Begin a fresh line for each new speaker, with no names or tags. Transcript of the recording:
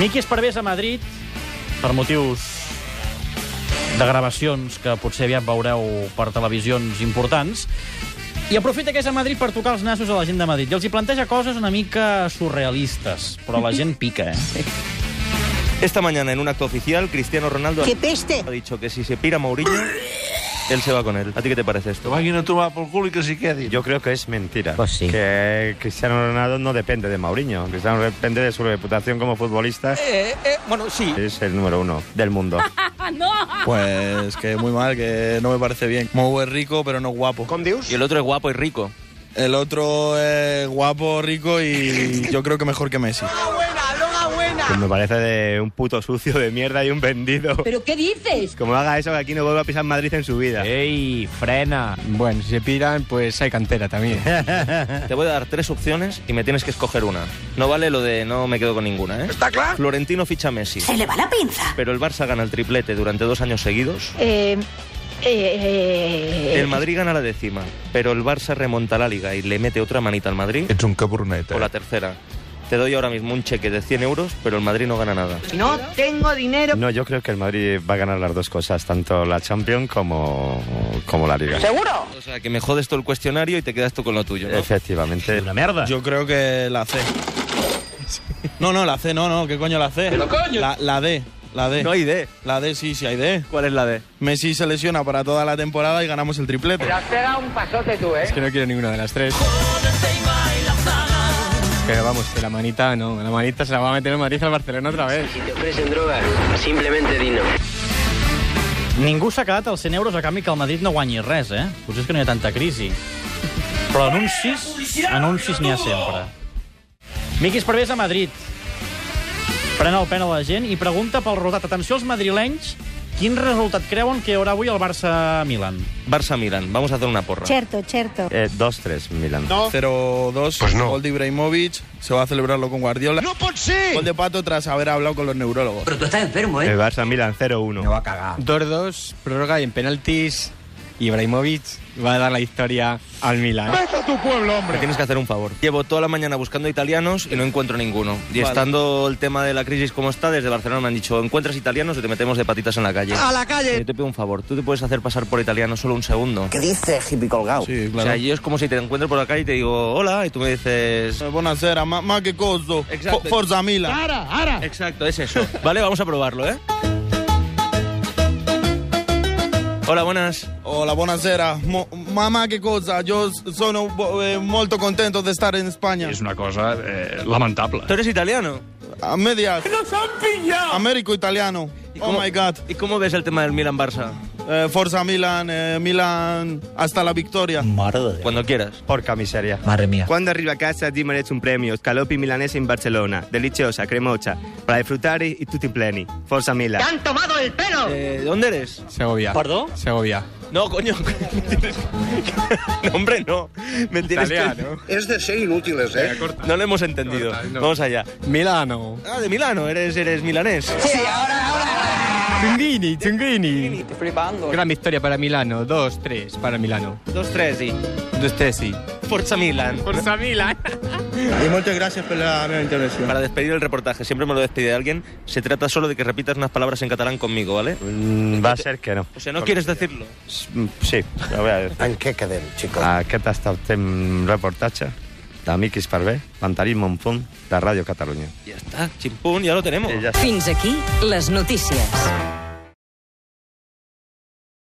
Miqui Esparvés a Madrid, per motius de gravacions que potser aviat veureu per televisions importants, i aprofita que és a Madrid per tocar els nassos a la gent de Madrid. I els hi planteja coses una mica surrealistes, però la gent pica, eh?
Esta mañana, en un acto oficial, Cristiano Ronaldo
¡Qué peste!
ha dicho que si se pira Mourinho, él se va con él. ¿A ti qué te parece
Que
esto?
vagin a tomar pel cul i que s'hi quedin.
Yo creo que es mentira.
Pues sí.
Que Eh, Cristiano Ronaldo no depende de Mauriño. Cristiano depende de su reputación como futbolista.
bueno, sí.
Es el número uno del mundo.
Pues que muy mal, que no me parece bien. Mou es rico, pero no guapo.
Y el otro es guapo y rico.
El otro es guapo, rico y yo creo que mejor que Messi.
Pues me parece de un puto sucio de mierda y un vendido.
¿Pero qué dices?
Como haga eso, que aquí no vuelva a pisar Madrid en su vida.
Eh,
¡Ey, frena! Bueno, si se piran, pues hay cantera también.
Eh. Te voy a dar tres opciones y me tienes que escoger una. No vale lo de no me quedo con ninguna, ¿eh? ¿Está claro? Florentino ficha a Messi,
Se le va la pinza.
pero el Barça gana el triplete durante dos años seguidos.
Eh, eh, eh,
El Madrid gana la décima, pero el Barça remonta la liga y le mete otra manita al Madrid.
Ets un cabronet,
O la tercera. Te doy ahora mismo un cheque de 100 euros, pero el Madrid no gana nada.
No tengo dinero.
No, yo creo que el Madrid va a ganar las dos cosas, tanto la Champions como, como la Liga.
¿Seguro?
O sea, que me jodes todo el cuestionario y te quedas tú con lo tuyo, ¿no?
Efectivamente.
Una merda.
Yo creo que la C. No, no, la C, no, no, ¿qué coño la C? La, la D, la D.
hay D.
La D, sí, sí hay D.
¿Cuál es la D?
Messi se lesiona para toda la temporada y ganamos el triplete.
Es que no quiero ninguna de las tres. Pero vamos, que la manita no, la manita se la va a meter el Madrid al Barcelona otra vez.
Ningú s'ha quedat als 100 euros a canvi que el Madrid no guanyi res, eh? Potser és que no hi ha tanta crisi. Però anuncis, anuncis n'hi ha sempre. Miqui Esparvés a Madrid. Pren el pen a la gent i pregunta pel resultat. Atenció als madrilenys, quin resultat creuen que hi haurà avui al Barça-Milan?
Barça-Milan. Vamos a hacer una porra.
Certo, certo.
Eh, 2-3, Milan.
0-2,
Pues no.
gol de Ibrahimovic, se va a celebrarlo con Guardiola. ¡No por Gol de Pato tras haber hablado con los neurólogos.
Pero tú estás enfermo, ¿eh?
El Barça-Milan 0-1.
a
Ah.
cagar. 2-2, prórroga y en penaltis. Ibrahimovic va a dar la victoria al Milan.
Me tienes que hacer un favor. Llevo toda la mañana buscando italianos y no encuentro ninguno. Y estando el tema de la crisis como está, desde Barcelona me han dicho, encuentras italianos o te metemos de patitas en la calle. ¡A la calle! Yo te pido un favor. Tú te puedes hacer pasar por italiano solo un segundo.
Sí,
O sea,
claro.
yo es como si te encuentro por la calle y te digo, hola, y tú me dices...
Eh, Buonasera, ma, ma che coso.
Exacto.
Fo- Forza Milan.
Exacto, es eso. vale, vamos a probarlo, ¿eh? Hola, buenas.
Hola, buonasera. Mo- mamma, che cosa? Io s- sono bo- eh, molto contento di stare in Spagna.
una cosa eh, lamentable.
¿Tú eres italiano?
A medias. Américo italiano. Oh my God.
¿Y cómo ves el tema del Milan-Barça?
Eh, Forza Milan, eh, Milan, hasta la victoria.
Cuando quieras.
Por camiseria.
Madre mía.
Cuando arriba a casa ti merece un premio, Scalopi milanese en Barcelona, deliciosa, cremosa, para disfrutar y tutti pleni. Forza Milan.
han tomado el pelo!
Eh, ¿Dónde eres?
Segovia.
Perdó?
Segovia.
No, coño. me tienes que- no, hombre, no. Me tienes que-
Italiano.
Es de ser inútiles, ¿eh?
No lo hemos entendido.
Corta, no.
Vamos allá.
Milano.
Ah, de Milano, eres, eres milanés.
Chunguini, Chunguini. Gran victoria para Milano. 2-3 para Milano.
Dos, tres y...
2-3, sí.
Forza Milan.
Forza Milan.
Y muchas gracias por la nueva intervención.
Para despedir el reportaje, siempre me lo despide alguien, se trata solo de que repitas unas palabras en catalán conmigo, ¿vale?
Mm, va a ser que no.
O sea, no quieres decirlo.
Mm, Sí, lo voy a decir.
En què quedem, xicos?
Aquest ha estat un reportatge de Miqui Esparvé, Pantarí Montfum, de Ràdio Catalunya.
Eh, Ya está, chimpún, ya lo tenemos.
I ja està.
Fins aquí les notícies.